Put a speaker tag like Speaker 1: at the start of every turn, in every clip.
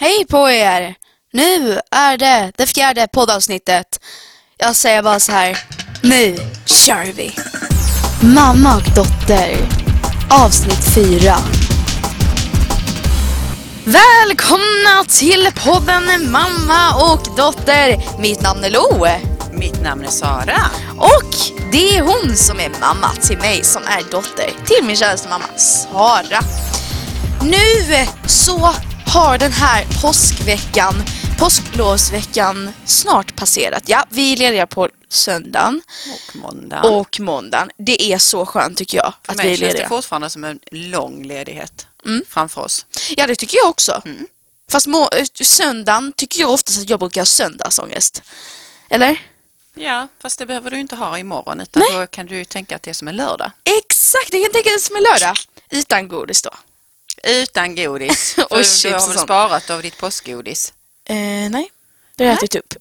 Speaker 1: Hej på er! Nu är det det fjärde poddavsnittet. Jag säger bara så här. Nu kör vi! Mamma och dotter. Avsnitt 4. Välkomna till podden Mamma och dotter. Mitt namn är Lo.
Speaker 2: Mitt namn är Sara.
Speaker 1: Och det är hon som är mamma till mig som är dotter till min käraste mamma Sara. Nu så har den här påskveckan, påsklovsveckan snart passerat. Ja, vi är lediga på söndagen
Speaker 2: Och måndag.
Speaker 1: och måndagen. Det är så skönt tycker jag
Speaker 2: För
Speaker 1: att vi
Speaker 2: mig
Speaker 1: är
Speaker 2: känns det
Speaker 1: lediga.
Speaker 2: fortfarande som en lång ledighet framför oss.
Speaker 1: Ja, det tycker jag också. Fast må- eh, söndagen tycker jag oftast att jag brukar ha söndagsångest. Eller?
Speaker 2: Ja, fast det behöver du inte ha imorgon utan då kan du ju tänka att det är som en lördag.
Speaker 1: Exakt, jag kan tänka det som en lördag. Utan godis då.
Speaker 2: Utan godis.
Speaker 1: Och
Speaker 2: För
Speaker 1: chips
Speaker 2: du
Speaker 1: och
Speaker 2: har väl
Speaker 1: sånt.
Speaker 2: sparat av ditt påskgodis?
Speaker 1: Eh, nej, det har jag ätit upp.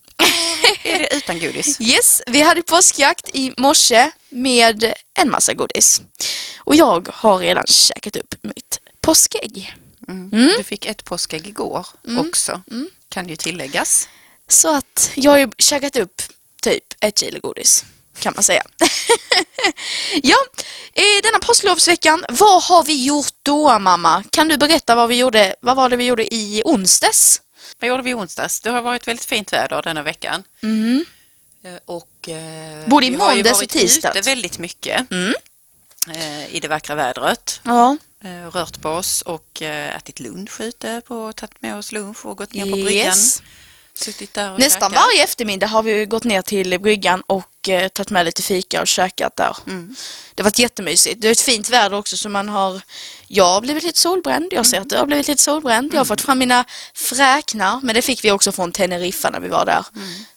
Speaker 2: Är det utan godis?
Speaker 1: Yes, vi hade påskjakt i morse med en massa godis. Och jag har redan käkat upp mitt påskägg.
Speaker 2: Mm. Du fick ett påskägg igår också, kan ju tilläggas.
Speaker 1: Så att jag har ju käkat upp typ ett kilo godis, kan man säga. ja, i denna påsklovsveckan, vad har vi gjort då mamma? Kan du berätta vad vi gjorde, vad var det vi gjorde i onsdags?
Speaker 2: Vad gjorde vi i onsdags? Det har varit väldigt fint väder denna veckan. Eh, Och, eh,
Speaker 1: Både i
Speaker 2: vi har ju
Speaker 1: måndags och
Speaker 2: varit
Speaker 1: tisdags.
Speaker 2: ute väldigt mycket eh, i det vackra vädret.
Speaker 1: Ja.
Speaker 2: eh, rört på oss och eh, ätit lunch ute på, tagit med oss lunch och gått ner på bryggan.
Speaker 1: Yes.
Speaker 2: Suttit där och
Speaker 1: Nästan
Speaker 2: käkat.
Speaker 1: varje eftermiddag har vi ju gått ner till bryggan och eh, tagit med lite fika och käkat där. Det har varit jättemysigt. Det är ett fint väder också så man har... Jag har blivit lite solbränd. Jag ser att du har blivit lite solbränd. Jag har fått fram mina fräknar, men det fick vi också från Teneriffa när vi var där.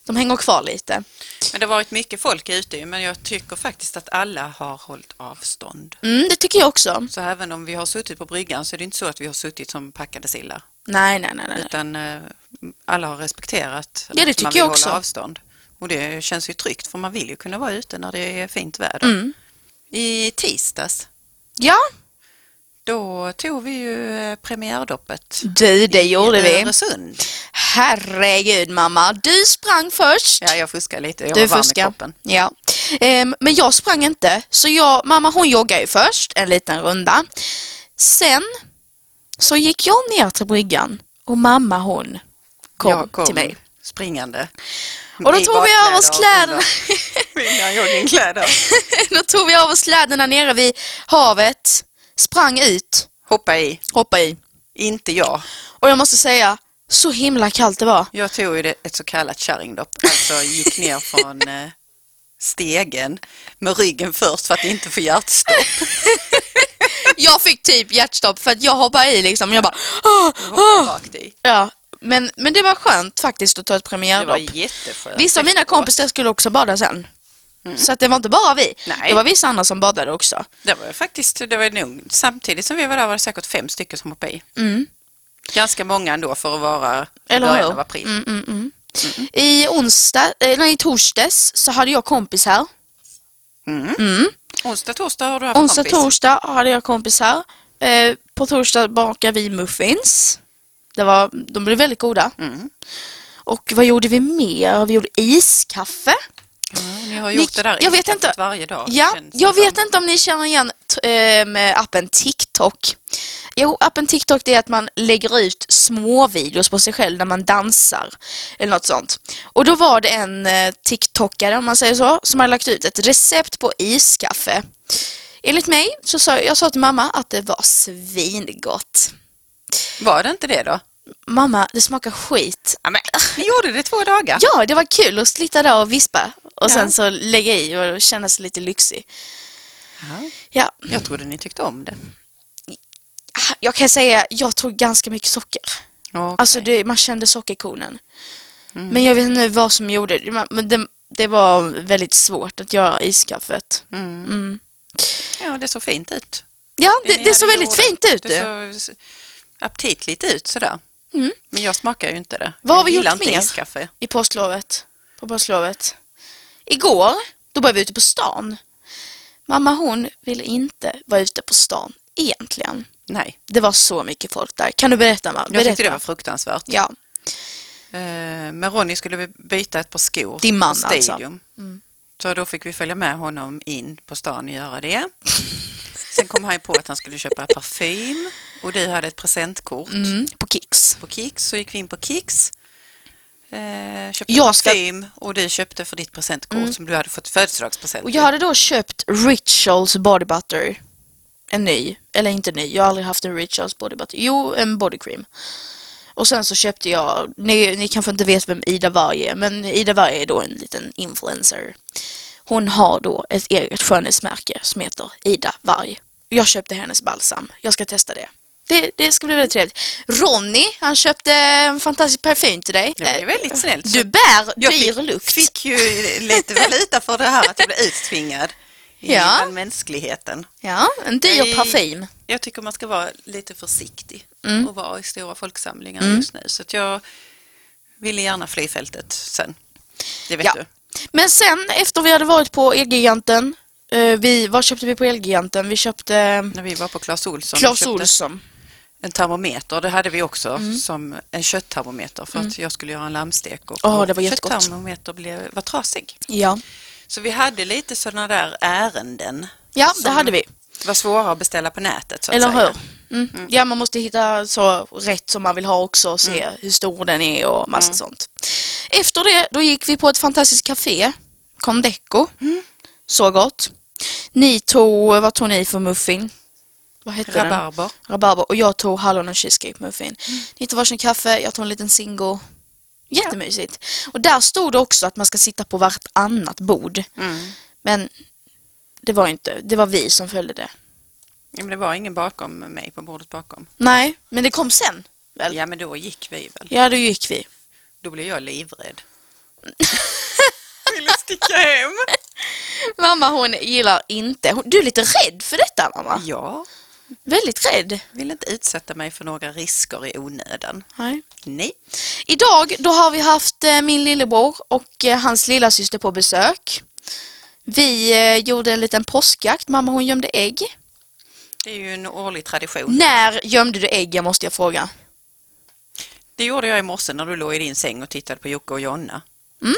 Speaker 1: De hänger kvar lite.
Speaker 2: Men det har varit mycket folk ute ju, men jag tycker faktiskt att alla har hållit avstånd.
Speaker 1: Mm, det tycker jag också.
Speaker 2: Så även om vi har suttit på bryggan så är det inte så att vi har suttit som packade sillar.
Speaker 1: Nej, nej, nej. nej.
Speaker 2: Utan eh, alla har respekterat
Speaker 1: Ja, det
Speaker 2: att
Speaker 1: tycker
Speaker 2: man vill
Speaker 1: jag också.
Speaker 2: hålla avstånd. Och det känns ju tryggt för man vill ju kunna vara ute när det är fint väder.
Speaker 1: Mm.
Speaker 2: I tisdags,
Speaker 1: Ja,
Speaker 2: då tog vi ju eh, premiärdoppet
Speaker 1: du, det Mm. gjorde
Speaker 2: i
Speaker 1: vi.
Speaker 2: Öresund.
Speaker 1: Herregud mamma, du sprang först.
Speaker 2: Ja, jag fuskar lite. Jag
Speaker 1: Du
Speaker 2: var varm i
Speaker 1: fuskar.
Speaker 2: kroppen.
Speaker 1: Ja. Ehm, men jag sprang inte, så jag, mamma hon joggade ju först en liten runda. Sen så gick jag ner till bryggan och mamma hon kom,
Speaker 2: jag kom
Speaker 1: till mig.
Speaker 2: springande.
Speaker 1: Och då tog vi av oss kläderna.
Speaker 2: Mina joggingkläder.
Speaker 1: då tog vi av oss kläderna nere vid havet, sprang ut,
Speaker 2: Hoppa i.
Speaker 1: hoppade i.
Speaker 2: Inte jag.
Speaker 1: Och jag måste säga, så himla kallt det var.
Speaker 2: Jag tog ju det- ett så kallat kärringdopp. Alltså gick ner från eh, stegen med ryggen först för att inte få hjärtstopp.
Speaker 1: Jag fick typ hjärtstopp för att jag hoppade i liksom. Jag bara, "Åh!"
Speaker 2: Hoppade rakt i.
Speaker 1: ja. men, men det var skönt faktiskt att ta ett
Speaker 2: Det var
Speaker 1: premiärdopp.
Speaker 2: jätteskönt.
Speaker 1: Vissa av mina kompisar skulle också bada sen. Så att det var inte bara vi.
Speaker 2: Nej.
Speaker 1: Det var vissa andra som badade också.
Speaker 2: Det var faktiskt, det var nog, samtidigt som vi var där var det säkert fem stycken som hoppade i. Ganska många ändå för att vara
Speaker 1: Mm. Eller
Speaker 2: början
Speaker 1: hur?
Speaker 2: av april.
Speaker 1: Mm, mm, mm. I onsdag, eh, nej, i torsdags så hade jag kompis här.
Speaker 2: Onsdag, torsdag har du haft
Speaker 1: Onsdag,
Speaker 2: kompis.
Speaker 1: torsdag hade jag kompis här. Eh, på torsdag bakade vi muffins. Det var, de blev väldigt goda. Och vad gjorde vi mer? Vi gjorde iskaffe.
Speaker 2: Mm, Ni har gjort
Speaker 1: Nick-
Speaker 2: det där
Speaker 1: jag vet
Speaker 2: inkaffet
Speaker 1: inte.
Speaker 2: varje dag.
Speaker 1: Ja,
Speaker 2: känns det
Speaker 1: jag
Speaker 2: som.
Speaker 1: vet inte om ni känner igen t- eh, med appen TikTok. Jo, appen TikTok det är att man lägger ut små videos på sig själv när man dansar eller något sånt. Och då var det en eh, TikTokare, om man säger så, som hade lagt ut ett recept på iskaffe. Enligt mig så sa jag sa till mamma att det var svingott.
Speaker 2: Var det inte det då?
Speaker 1: Mamma, det smakar skit.
Speaker 2: Ja, men, ni gjorde det två dagar.
Speaker 1: Ja, det var kul att sitta där och vispa och
Speaker 2: Ja.
Speaker 1: sen så lägga i och känna sig lite lyxig.
Speaker 2: Ja.
Speaker 1: Ja,
Speaker 2: Jag trodde ni tyckte om det.
Speaker 1: jag kan säga, jag tog ganska mycket socker.
Speaker 2: Ja.
Speaker 1: Alltså det, man kände sockerkonen.
Speaker 2: Mm.
Speaker 1: Men jag vet inte vad som gjorde det. Man- Men det, det var väldigt svårt att göra iskaffet.
Speaker 2: Mm.
Speaker 1: Mm.
Speaker 2: ja, det såg fint ut.
Speaker 1: Ja, det,
Speaker 2: ni
Speaker 1: det såg
Speaker 2: hade
Speaker 1: väldigt
Speaker 2: gjort.
Speaker 1: fint ut.
Speaker 2: Det
Speaker 1: du.
Speaker 2: såg s- aptitligt ut sådär.
Speaker 1: Mm.
Speaker 2: Men jag smakar ju inte det.
Speaker 1: Vad har
Speaker 2: Jag
Speaker 1: vi
Speaker 2: gillar
Speaker 1: gjort
Speaker 2: inte
Speaker 1: mer?
Speaker 2: iskaffe.
Speaker 1: I påsklovet. På påsklovet. Igår, då var vi ute på stan. Mamma hon ville inte vara ute på stan egentligen.
Speaker 2: Nej,
Speaker 1: Det var så mycket folk där. Kan du berätta? Mal?
Speaker 2: jag
Speaker 1: berätta.
Speaker 2: tyckte det var fruktansvärt.
Speaker 1: Ja,
Speaker 2: Eh, Men Ronny skulle vi byta ett par skor
Speaker 1: Din man
Speaker 2: på
Speaker 1: alltså.
Speaker 2: Stadium. Så då fick vi följa med honom in på stan och göra det. Sen kom han ju på att han skulle köpa parfym och du hade ett presentkort
Speaker 1: mm, på Kicks.
Speaker 2: på Kicks. Så gick vi in på Kicks, eh, köpte
Speaker 1: Jag ska- Mm.
Speaker 2: parfym och du köpte för ditt presentkort som du hade fått födelsedagspresent
Speaker 1: Och jag hade då köpt Rituals Body Butter. En ny, eller inte ny, jag har aldrig haft en Rituals Body Butter. Jo, en body cream. Och sen så köpte jag, ni, ni kanske inte vet vem Ida Varg är, men Ida Varg är då en liten influencer. Hon har då ett eget skönhetsmärke som heter Ida Varg. Jag köpte hennes balsam, jag ska testa det. Det, det ska bli väldigt trevligt. Ronny, han köpte en fantastisk parfym till dig.
Speaker 2: Det är väldigt snällt.
Speaker 1: Du bär
Speaker 2: Jag
Speaker 1: dyr lukt.
Speaker 2: fick ju lite valuta för det här att jag blev uttvingad i
Speaker 1: Ja.
Speaker 2: den mänskligheten.
Speaker 1: Ja, en dyr
Speaker 2: Nej.
Speaker 1: parfym.
Speaker 2: Jag tycker man ska vara lite försiktig
Speaker 1: Mm.
Speaker 2: och vara i stora folksamlingar just nu. Så att jag ville gärna fly fältet sen. Det vet
Speaker 1: Ja.
Speaker 2: du.
Speaker 1: Men sen efter vi hade varit på Elgiganten, eh, vi, vad köpte vi på Elgiganten? Vi köpte eh,
Speaker 2: När vi var på Clas Ohlson och
Speaker 1: Clas
Speaker 2: köpte
Speaker 1: Ohlson. Mm.
Speaker 2: en termometer, det hade vi också som en kötttermometer för att jag skulle göra en lammstek och
Speaker 1: Åh,
Speaker 2: vår
Speaker 1: det var jättegott.
Speaker 2: kötttermometer blev, var trasig.
Speaker 1: Ja,
Speaker 2: Så vi hade lite sådana där ärenden.
Speaker 1: ja det
Speaker 2: som
Speaker 1: hade vi.
Speaker 2: var svåra att beställa på nätet så att
Speaker 1: Eller
Speaker 2: säga.
Speaker 1: hur? Mm. Ja, man måste hitta så rätt som man vill ha också och
Speaker 2: Mm.
Speaker 1: se hur stor den är och massa sånt. Efter det, då gick vi på ett fantastiskt café, Condeco.
Speaker 2: Mm.
Speaker 1: Så gott. Ni tog, vad tog ni för muffin? Vad hette den?
Speaker 2: Rabarber.
Speaker 1: rabarber och jag tog hallon och cheesecake muffin. Ni tog varsin kaffe, jag tog en liten singo. Jättemysigt. Och där stod det också att man ska sitta på vartannat bord.
Speaker 2: Mm.
Speaker 1: Men det var inte, det var vi som följde det.
Speaker 2: Ja, men det var ingen bakom mig på bordet bakom.
Speaker 1: Nej, men det kom sen väl? Ja,
Speaker 2: Ja men då gick vi väl.
Speaker 1: då gick vi.
Speaker 2: Då blev jag livrädd. Ville sticka hem.
Speaker 1: Mamma hon gillar inte, hon, du är lite rädd för detta mamma.
Speaker 2: Ja,
Speaker 1: Mm. Väldigt rädd.
Speaker 2: ville inte utsätta mig för några risker i onödan.
Speaker 1: Nej.
Speaker 2: Nej.
Speaker 1: Idag då har vi haft eh, min lillebror och eh, hans lilla syster på besök. Vi eh, gjorde en liten påskjakt, mamma hon gömde ägg.
Speaker 2: Det är ju en årlig tradition.
Speaker 1: När gömde du äggen måste jag fråga.
Speaker 2: Det gjorde jag i morse när du låg i din säng och tittade på Jocke och Jonna.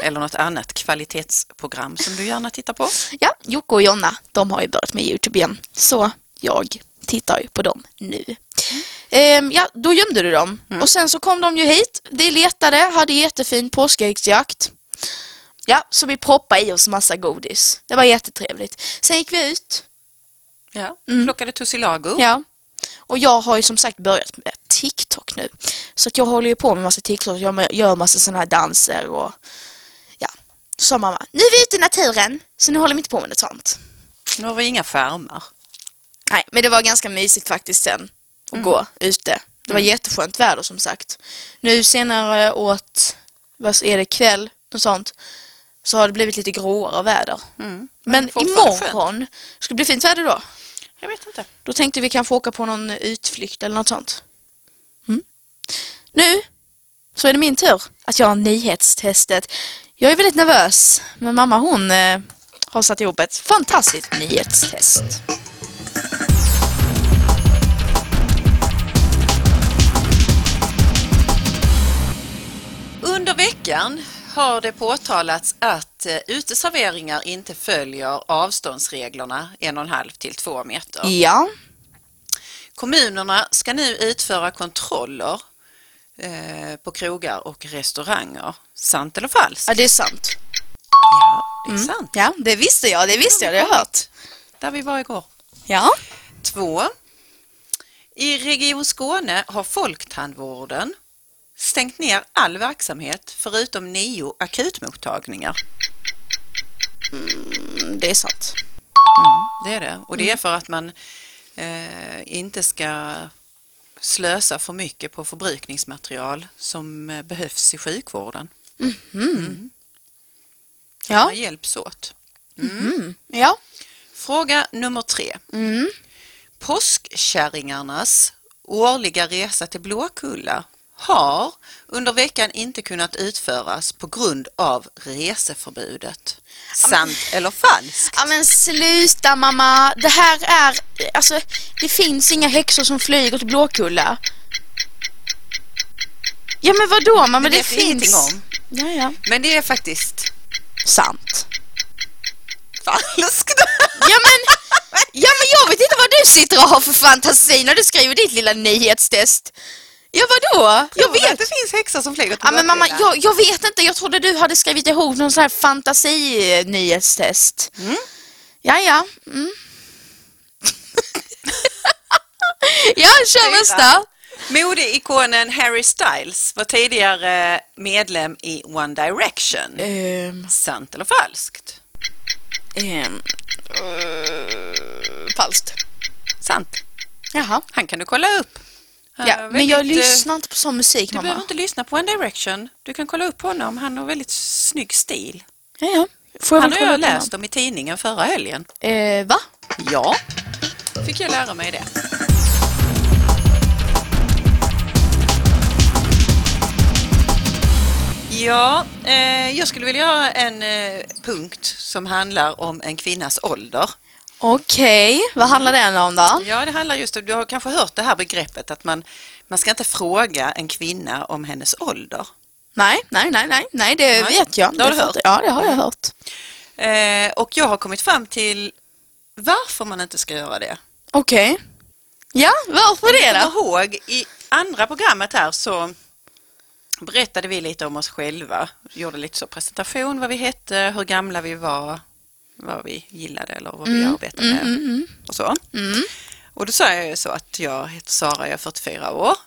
Speaker 2: Eller något annat kvalitetsprogram som du gärna tittar på.
Speaker 1: Ja, Jocke och Jonna, de har ju börjat med Youtube igen. Så jag tittar ju på dem nu. Ehm, ja, då gömde du dem. Och sen så kom de ju hit. Vi letade, hade jättefin påskäggsjakt. Ja, så vi proppade i oss massa godis. Det var jättetrevligt. Sen gick vi ut.
Speaker 2: Ja. Plockade tussilago.
Speaker 1: Ja. Och jag har ju som sagt börjat med TikTok nu. Så att jag håller ju på med massa TikTok, jag gör massa sådana här danser och ja. Så sa mamma, nu är vi ute i naturen, så nu håller vi inte på med något sånt.
Speaker 2: Nu har vi inga skärmar.
Speaker 1: Nej, men det var ganska mysigt faktiskt sen att gå ute. Det var jätteskönt väder som sagt. Nu senare åt, vad är det, kväll, något sånt, så har det blivit lite gråare väder.
Speaker 2: Mm.
Speaker 1: Men,
Speaker 2: fortfarande
Speaker 1: imorgon ska det bli fint väder då.
Speaker 2: Jag vet inte.
Speaker 1: Då tänkte vi kanske åka på någon utflykt eller något sånt. Mm. Nu så är det min tur att göra nyhetstestet. Jag är väldigt nervös, men mamma hon eh, har satt ihop ett fantastiskt nyhetstest.
Speaker 2: Under veckan har det påtalats att eh, uteserveringar inte följer avståndsreglerna 1,5 till 2 meter.
Speaker 1: Ja,
Speaker 2: Kommunerna ska nu utföra kontroller eh, på krogar och restauranger. Sant eller falskt? Mm.
Speaker 1: ja det är sant.
Speaker 2: Ja, det är sant.
Speaker 1: Ja, det visste jag, det visste jag, det har jag hört.
Speaker 2: Där vi var igår.
Speaker 1: Ja.
Speaker 2: Två. I Region Skåne har Folktandvården stängt ner all verksamhet förutom nio akutmottagningar.
Speaker 1: Mm, Det är sant.
Speaker 2: Det är det. Och det är för att man eh, inte ska slösa för mycket på förbrukningsmaterial som eh, behövs i sjukvården.
Speaker 1: Ja.
Speaker 2: Man hjälps åt.
Speaker 1: Ja.
Speaker 2: Fråga nummer tre.
Speaker 1: Mm.
Speaker 2: Påskkärringarnas årliga resa till Blåkulla har under veckan inte kunnat utföras på grund av reseförbudet. Sant eller falskt?
Speaker 1: Ja men sluta mamma, det här är, alltså det finns inga häxor som flyger till Blåkulla. Ja men vadå mamma,
Speaker 2: Det
Speaker 1: det,
Speaker 2: vet vi
Speaker 1: finns.
Speaker 2: ingenting om.
Speaker 1: Ja, ja.
Speaker 2: Men det är faktiskt
Speaker 1: Sant.
Speaker 2: falskt.
Speaker 1: Ja men, ja men jag vet inte vad du sitter och har för fantasi när du skriver ditt lilla nyhetstest. Ja vadå? Jag
Speaker 2: Tror du att
Speaker 1: vet.
Speaker 2: det finns häxor som flyger till
Speaker 1: Ja men mamma,
Speaker 2: Blåkulla?
Speaker 1: jag, jag vet inte. Jag trodde du hade skrivit ihop någon sån här fantasinyhetstest.
Speaker 2: Mm.
Speaker 1: Ja, ja. Mm. ja, kör
Speaker 2: Fyra.
Speaker 1: nästa.
Speaker 2: Modeikonen Harry Styles var tidigare medlem i One Direction.
Speaker 1: Ehm,
Speaker 2: Sant eller falskt?
Speaker 1: ehm, eh, falskt.
Speaker 2: Sant.
Speaker 1: Jaha.
Speaker 2: Han kan du kolla upp. Han har
Speaker 1: Ja, men
Speaker 2: väldigt, eh,
Speaker 1: jag lyssnar inte på sån musik
Speaker 2: Du
Speaker 1: mamma.
Speaker 2: behöver inte lyssna på One Direction. Du kan kolla upp honom. Han har väldigt snygg stil.
Speaker 1: Ja, ja. Får jag
Speaker 2: Han
Speaker 1: väl
Speaker 2: har
Speaker 1: kolla
Speaker 2: jag
Speaker 1: upp honom?
Speaker 2: läst om i tidningen förra helgen.
Speaker 1: Eh, va?
Speaker 2: Ja. Fick jag lära mig det. Ja, eh, jag skulle vilja ha en eh, punkt som handlar om en kvinnas ålder.
Speaker 1: Okej, vad handlar den om då?
Speaker 2: Ja, det handlar just om, du har kanske hört det här begreppet att man, man ska inte fråga en kvinna om hennes ålder.
Speaker 1: Nej, nej, nej, nej, nej, det
Speaker 2: Nej,
Speaker 1: vet jag.
Speaker 2: det har du
Speaker 1: fattar-
Speaker 2: hört.
Speaker 1: Ja, det har jag hört.
Speaker 2: Eh, och jag har kommit fram till varför man inte ska göra det.
Speaker 1: Okej. Ja, varför det
Speaker 2: Jag
Speaker 1: då?
Speaker 2: kommer ihåg i andra programmet här så berättade vi lite om oss själva. Gjorde lite så presentation, vad vi hette, hur gamla vi var, vad vi gillade eller vad vi arbetade
Speaker 1: mm,
Speaker 2: med och så. Och då sa jag ju så att jag heter Sara, jag är 44 år.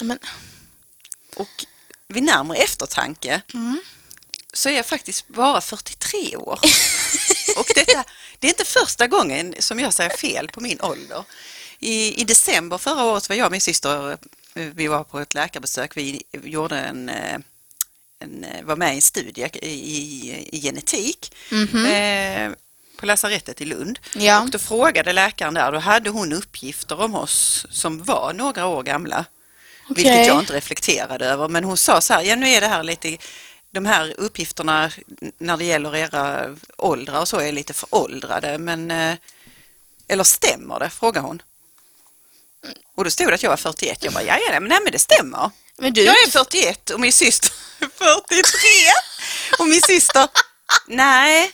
Speaker 1: Men,
Speaker 2: Och vid närmare eftertanke så är jag faktiskt bara 43 år. Och detta, det är inte första gången som jag säger fel på min ålder. I, I december förra året var jag och min syster, eh, vi var på ett läkarbesök, vi gjorde en, eh, en eh, var med i en studie i, i, i genetik eh, på lasarettet i Lund.
Speaker 1: Ja.
Speaker 2: Och då frågade läkaren där, då hade hon uppgifter om oss som var några år gamla. Vilket
Speaker 1: Okej.
Speaker 2: jag inte reflekterade över, men hon sa så här, ja nu är det här lite, de här uppgifterna när det gäller era åldrar och så är lite föråldrade, men eh, eller stämmer det? frågar hon. Och då stod det att jag var 41, jag bara, ja, ja nej, men nej men det stämmer.
Speaker 1: men du,
Speaker 2: Jag är 41 och min syster är 43 och min syster, nej,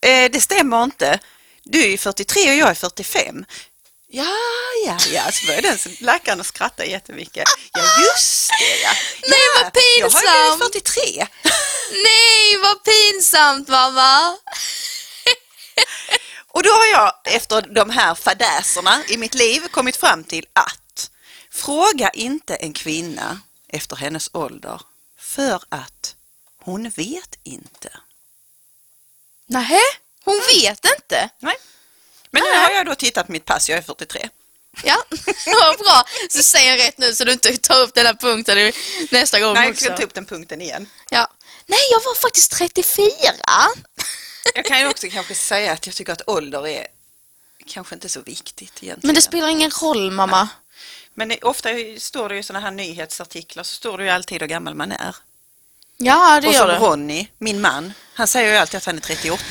Speaker 2: eh, det stämmer inte. Du är ju 43 och jag är 45. Ja, ja, ja, så började den läkaren att skratta jättemycket. Ja, just det ja.
Speaker 1: Nej,
Speaker 2: ja,
Speaker 1: vad
Speaker 2: Jag har ju
Speaker 1: pinsamt.
Speaker 2: blivit 43.
Speaker 1: Nej, vad pinsamt mamma!
Speaker 2: Och då har jag efter de här fadäserna i mitt liv kommit fram till att fråga inte en kvinna efter hennes ålder för att hon vet inte.
Speaker 1: Nähä? Hon vet inte?
Speaker 2: Nej. Men nu har jag då tittat på mitt pass, jag är 43.
Speaker 1: Ja, vad bra. Så säg jag rätt nu så du inte tar upp den här punkten i- nästa gång
Speaker 2: Nej, typ. jag
Speaker 1: också.
Speaker 2: ska ta upp den punkten igen.
Speaker 1: Ja. Nej, jag var faktiskt 34.
Speaker 2: Jag kan ju också kanske säga att jag tycker att ålder är kanske inte så viktigt egentligen.
Speaker 1: Men det spelar ingen roll mamma.
Speaker 2: Men det- ofta står det ju i sådana här nyhetsartiklar så står det ju alltid hur gammal man är.
Speaker 1: Ja, det
Speaker 2: och
Speaker 1: gör
Speaker 2: som
Speaker 1: det.
Speaker 2: Ronny, min man, han säger ju alltid att han är 38.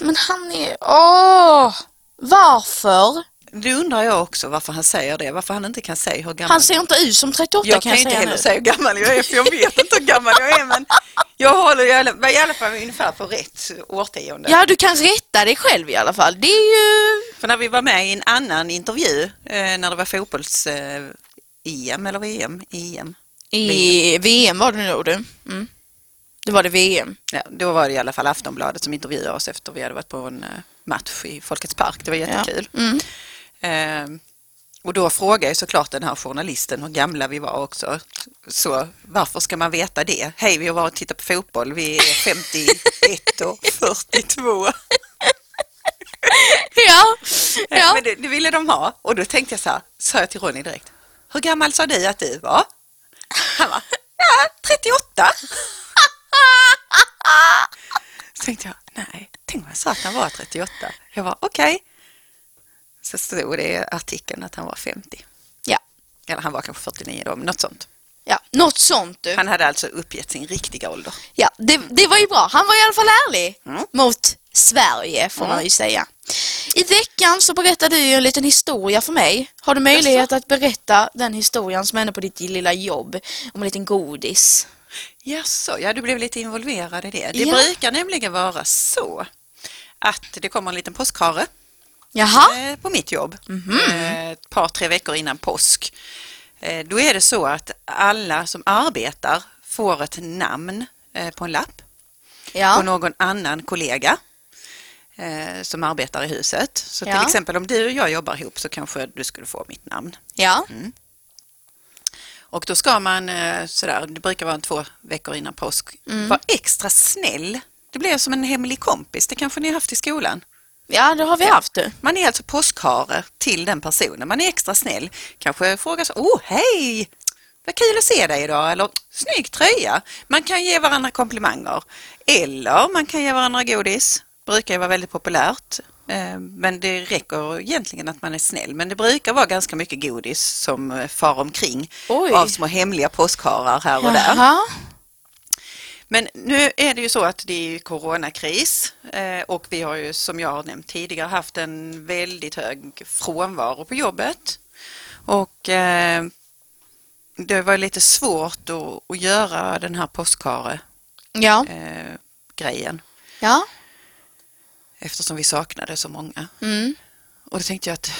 Speaker 1: Men han är... Åh! Varför?
Speaker 2: Det undrar jag också varför han säger det, varför han inte kan säga hur gammal
Speaker 1: Han ser inte ut som 38
Speaker 2: jag
Speaker 1: kan jag
Speaker 2: kan ju inte
Speaker 1: säga
Speaker 2: heller
Speaker 1: nu.
Speaker 2: säga hur gammal jag är för jag vet inte hur gammal jag är men jag håller i alla- i alla fall ungefär på rätt årtionde.
Speaker 1: Ja, du kan rätta dig själv i alla fall. Det är ju...
Speaker 2: För när vi var med i en annan intervju eh, när det var fotbolls-EM eller VM, EM,
Speaker 1: I VM var det nog du. Mm. Det var det VM.
Speaker 2: ja, då var det i alla fall Aftonbladet som intervjuade oss efter vi hade varit på en eh, match i Folkets park. Det var jättekul.
Speaker 1: Ja. Mm.
Speaker 2: Eh, och då frågade jag såklart den här journalisten hur gamla vi var också. Så varför ska man veta det? Hej, vi har varit och tittat på fotboll. Vi är 51 och 42.
Speaker 1: Ja.
Speaker 2: Ja.
Speaker 1: ja.
Speaker 2: Eh, Men det, det ville de ha och då tänkte jag så här, sa jag till Ronny direkt, hur gammal sa du att du var? Han var, ja, 38. Så tänkte jag, nej, tänk om jag sa att han var 38. Jag var okej. Så stod det i artikeln att han var 50.
Speaker 1: ja.
Speaker 2: Eller han var kanske 49 då, men något sånt.
Speaker 1: Ja, något sånt du.
Speaker 2: Han hade alltså uppgett sin riktiga ålder.
Speaker 1: Ja, det, det var ju bra. Han var i alla fall ärlig
Speaker 2: Mm.
Speaker 1: mot Sverige får man ju säga. I veckan så berättade du ju en liten historia för mig. Har du möjlighet att berätta den historien som hände på ditt lilla jobb om en liten godis?
Speaker 2: Jaså, ja du blev lite involverad i det. Det
Speaker 1: Ja.
Speaker 2: brukar nämligen vara så att det kommer en liten påskhare
Speaker 1: Jaha?
Speaker 2: eh, på mitt jobb
Speaker 1: Mhm.
Speaker 2: eh, ett par, tre veckor innan påsk. Eh, Då är det så att alla som arbetar får ett namn eh, på en lapp på
Speaker 1: Ja.
Speaker 2: någon annan kollega eh, som arbetar i huset. Så
Speaker 1: Ja.
Speaker 2: till exempel om du och jag jobbar ihop så kanske du skulle få mitt namn.
Speaker 1: Ja.
Speaker 2: Mm. Och då ska man eh, sådär, det brukar vara två veckor innan påsk,
Speaker 1: Mm.
Speaker 2: vara extra snäll. Det blir som en hemlig kompis, det kanske ni har haft i skolan.
Speaker 1: Ja, det har vi haft du.
Speaker 2: Man är alltså påskhare till den personen, man är extra snäll. Kanske frågar så, åh hej, vad kul att se dig idag, eller snygg tröja. Man kan ge varandra komplimanger, eller man kan ge varandra godis. Brukar ju vara väldigt populärt, eh, men det räcker egentligen att man är snäll. Men det brukar vara ganska mycket godis som eh, far omkring
Speaker 1: Oj.
Speaker 2: av små hemliga påskharar här och där.
Speaker 1: Jaha.
Speaker 2: Men nu är det ju så att det är ju coronakris eh, och vi har ju som jag har nämnt tidigare haft en väldigt hög frånvaro på jobbet. Och eh, det var lite svårt att, att göra den här eh, påskhare-grejen
Speaker 1: Ja. Ja.
Speaker 2: eftersom vi saknade så många.
Speaker 1: Mm.
Speaker 2: Och då tänkte jag att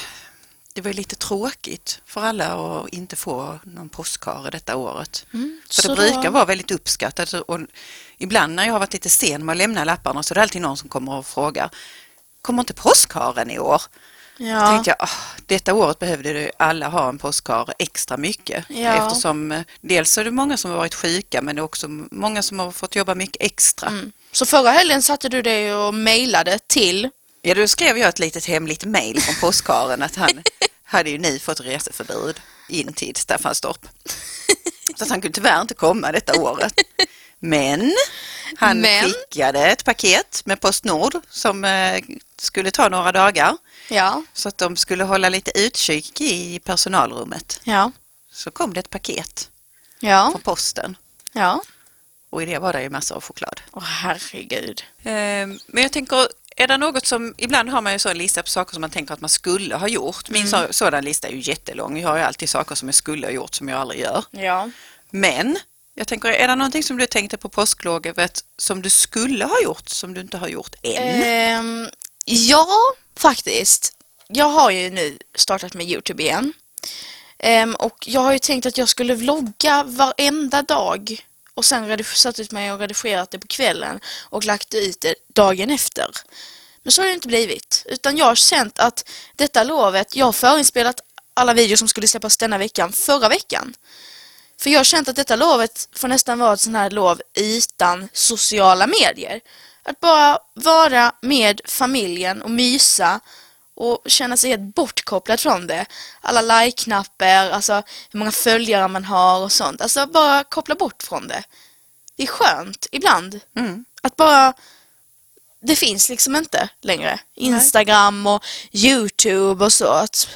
Speaker 2: det var ju lite tråkigt för alla att inte få någon påskhare detta året. För
Speaker 1: Mm, så
Speaker 2: det
Speaker 1: då-
Speaker 2: brukar vara väldigt uppskattat och ibland när jag har varit lite sen med att lämna lapparna så är det alltid någon som kommer och frågar Kommer inte påskharen i år? Då
Speaker 1: Ja.
Speaker 2: tänkte jag, "Ah, detta året behövde ju alla ha en påskhare extra mycket.
Speaker 1: Ja.
Speaker 2: Eftersom eh, dels är det många som har varit sjuka men det är också många som har fått jobba mycket extra.
Speaker 1: Mm. Så förra helgen satte du dig och mejlade till
Speaker 2: Ja, då skrev jag ett litet hemligt mejl från påskharen att han hade ju nu fått reseförbud in till Staffanstorp. Så att han kunde tyvärr inte komma detta året. Men han
Speaker 1: Men?
Speaker 2: skickade ett paket med Postnord som eh, skulle ta några dagar.
Speaker 1: Ja.
Speaker 2: Så att de skulle hålla lite utkik i personalrummet.
Speaker 1: Ja.
Speaker 2: Så kom det ett paket
Speaker 1: Ja.
Speaker 2: från posten
Speaker 1: Ja.
Speaker 2: och i det var det ju massor av choklad.
Speaker 1: Åh herregud.
Speaker 2: Eh, Men jag tänker, är det något som, ibland har man ju så en lista på saker som man tänker att man skulle ha gjort. Min
Speaker 1: Mm.
Speaker 2: så, sådan lista är ju jättelång. Jag har ju alltid saker som jag skulle ha gjort som jag aldrig gör.
Speaker 1: Ja.
Speaker 2: Men jag tänker, är det någonting som du tänkte på påsklovet som du skulle ha gjort som du inte har gjort än?
Speaker 1: Ehm, ja, faktiskt. Jag har ju nu startat med Youtube igen. Ehm, och jag har ju tänkt att jag skulle vlogga varenda dag och sen redig- satt ut mig och redigerat det på kvällen och lagt ut det dagen efter. Men så har det inte blivit. Utan jag har känt att detta lovet, jag har förinspelat alla videor som skulle släppas denna veckan förra veckan. För jag har känt att detta lovet får nästan vara ett sånt här lov utan sociala medier. Att bara vara med familjen och mysa och känna sig helt bortkopplad från det. Alla like-knappar, alltså hur många följare man har och sånt. Alltså bara koppla bort från det. Det är skönt ibland.
Speaker 2: Mm.
Speaker 1: Att bara... Det finns liksom inte längre. Instagram och YouTube och så. Att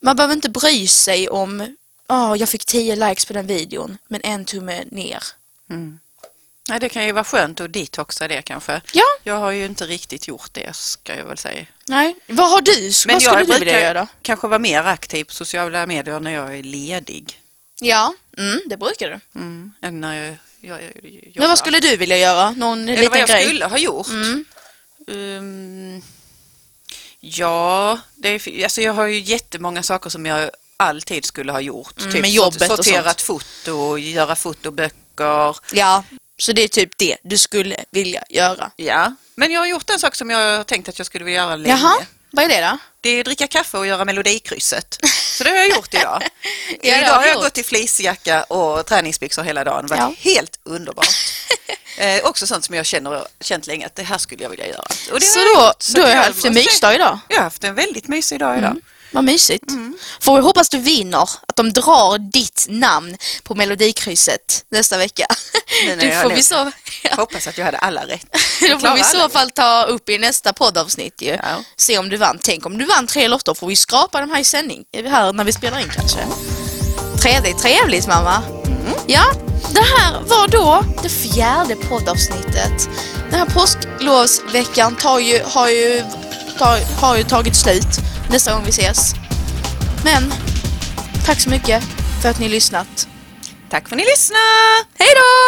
Speaker 1: man behöver inte bry sig om Ja, jag fick 10 likes på den videon, men en tumme ner.
Speaker 2: Nej, det kan ju vara skönt att detoxa det kanske.
Speaker 1: Ja,
Speaker 2: Jag har ju inte riktigt gjort det ska jag väl säga.
Speaker 1: nej. Vad har du? Vad skulle du vilja göra?
Speaker 2: kanske vara mer aktiv på sociala medier när jag är ledig.
Speaker 1: Ja, mm, det brukar du.
Speaker 2: Mm. Än när jag, jag, jag
Speaker 1: Men
Speaker 2: jobbar.
Speaker 1: vad skulle du vilja göra? Någon
Speaker 2: Eller vad
Speaker 1: liten
Speaker 2: jag
Speaker 1: grej? Mm.
Speaker 2: skulle ha gjort? Um, ja, det är, alltså jag har ju jättemånga saker som jag alltid skulle ha gjort. Typ
Speaker 1: Mm, med jobbet och
Speaker 2: sorterat foto, göra fotoböcker.
Speaker 1: Ja, så det är typ det du skulle vilja göra.
Speaker 2: Ja. Men jag har gjort en sak som jag har tänkt att jag skulle vilja göra länge.
Speaker 1: Jaha, vad är det då?
Speaker 2: Det är att dricka kaffe och göra melodikrysset. Så det har jag gjort idag.
Speaker 1: det har
Speaker 2: idag har
Speaker 1: du
Speaker 2: jag
Speaker 1: gjort.
Speaker 2: gått i fleecejacka och träningsbyxor hela dagen. Det har varit helt underbart. eh, också sånt som jag känner, känt länge att det här skulle jag vilja göra. Och det
Speaker 1: Så
Speaker 2: har jag
Speaker 1: då,
Speaker 2: gjort. Så
Speaker 1: då har
Speaker 2: att
Speaker 1: jag haft en
Speaker 2: måste-
Speaker 1: mysdag Mm. idag.
Speaker 2: Jag har haft en väldigt mysig dag idag.
Speaker 1: Vad mysigt.
Speaker 2: Mm.
Speaker 1: Får vi hoppas du vinner, att de drar ditt namn på melodikrysset nästa vecka.
Speaker 2: när
Speaker 1: Du
Speaker 2: jag
Speaker 1: får
Speaker 2: nu-
Speaker 1: vi så... Ja.
Speaker 2: Hoppas att jag hade alla rätt.
Speaker 1: Då får
Speaker 2: klarar
Speaker 1: vi i så
Speaker 2: alla.
Speaker 1: fall ta upp i nästa poddavsnitt ju.
Speaker 2: Ja.
Speaker 1: Se om du vann. Tänk om du vann tre lotter får vi skrapa de här i sändning. Är vi här när vi spelar in kanske? Trevligt, trevligt mamma.
Speaker 2: Mm.
Speaker 1: Ja, det här var då det fjärde poddavsnittet. Den här påsklovsveckan tar ju, har, ju, tar, har ju tagit slut nästa gång vi ses. Men tack så mycket för att ni lyssnat.
Speaker 2: Tack för att ni lyssnade!
Speaker 1: Hej då!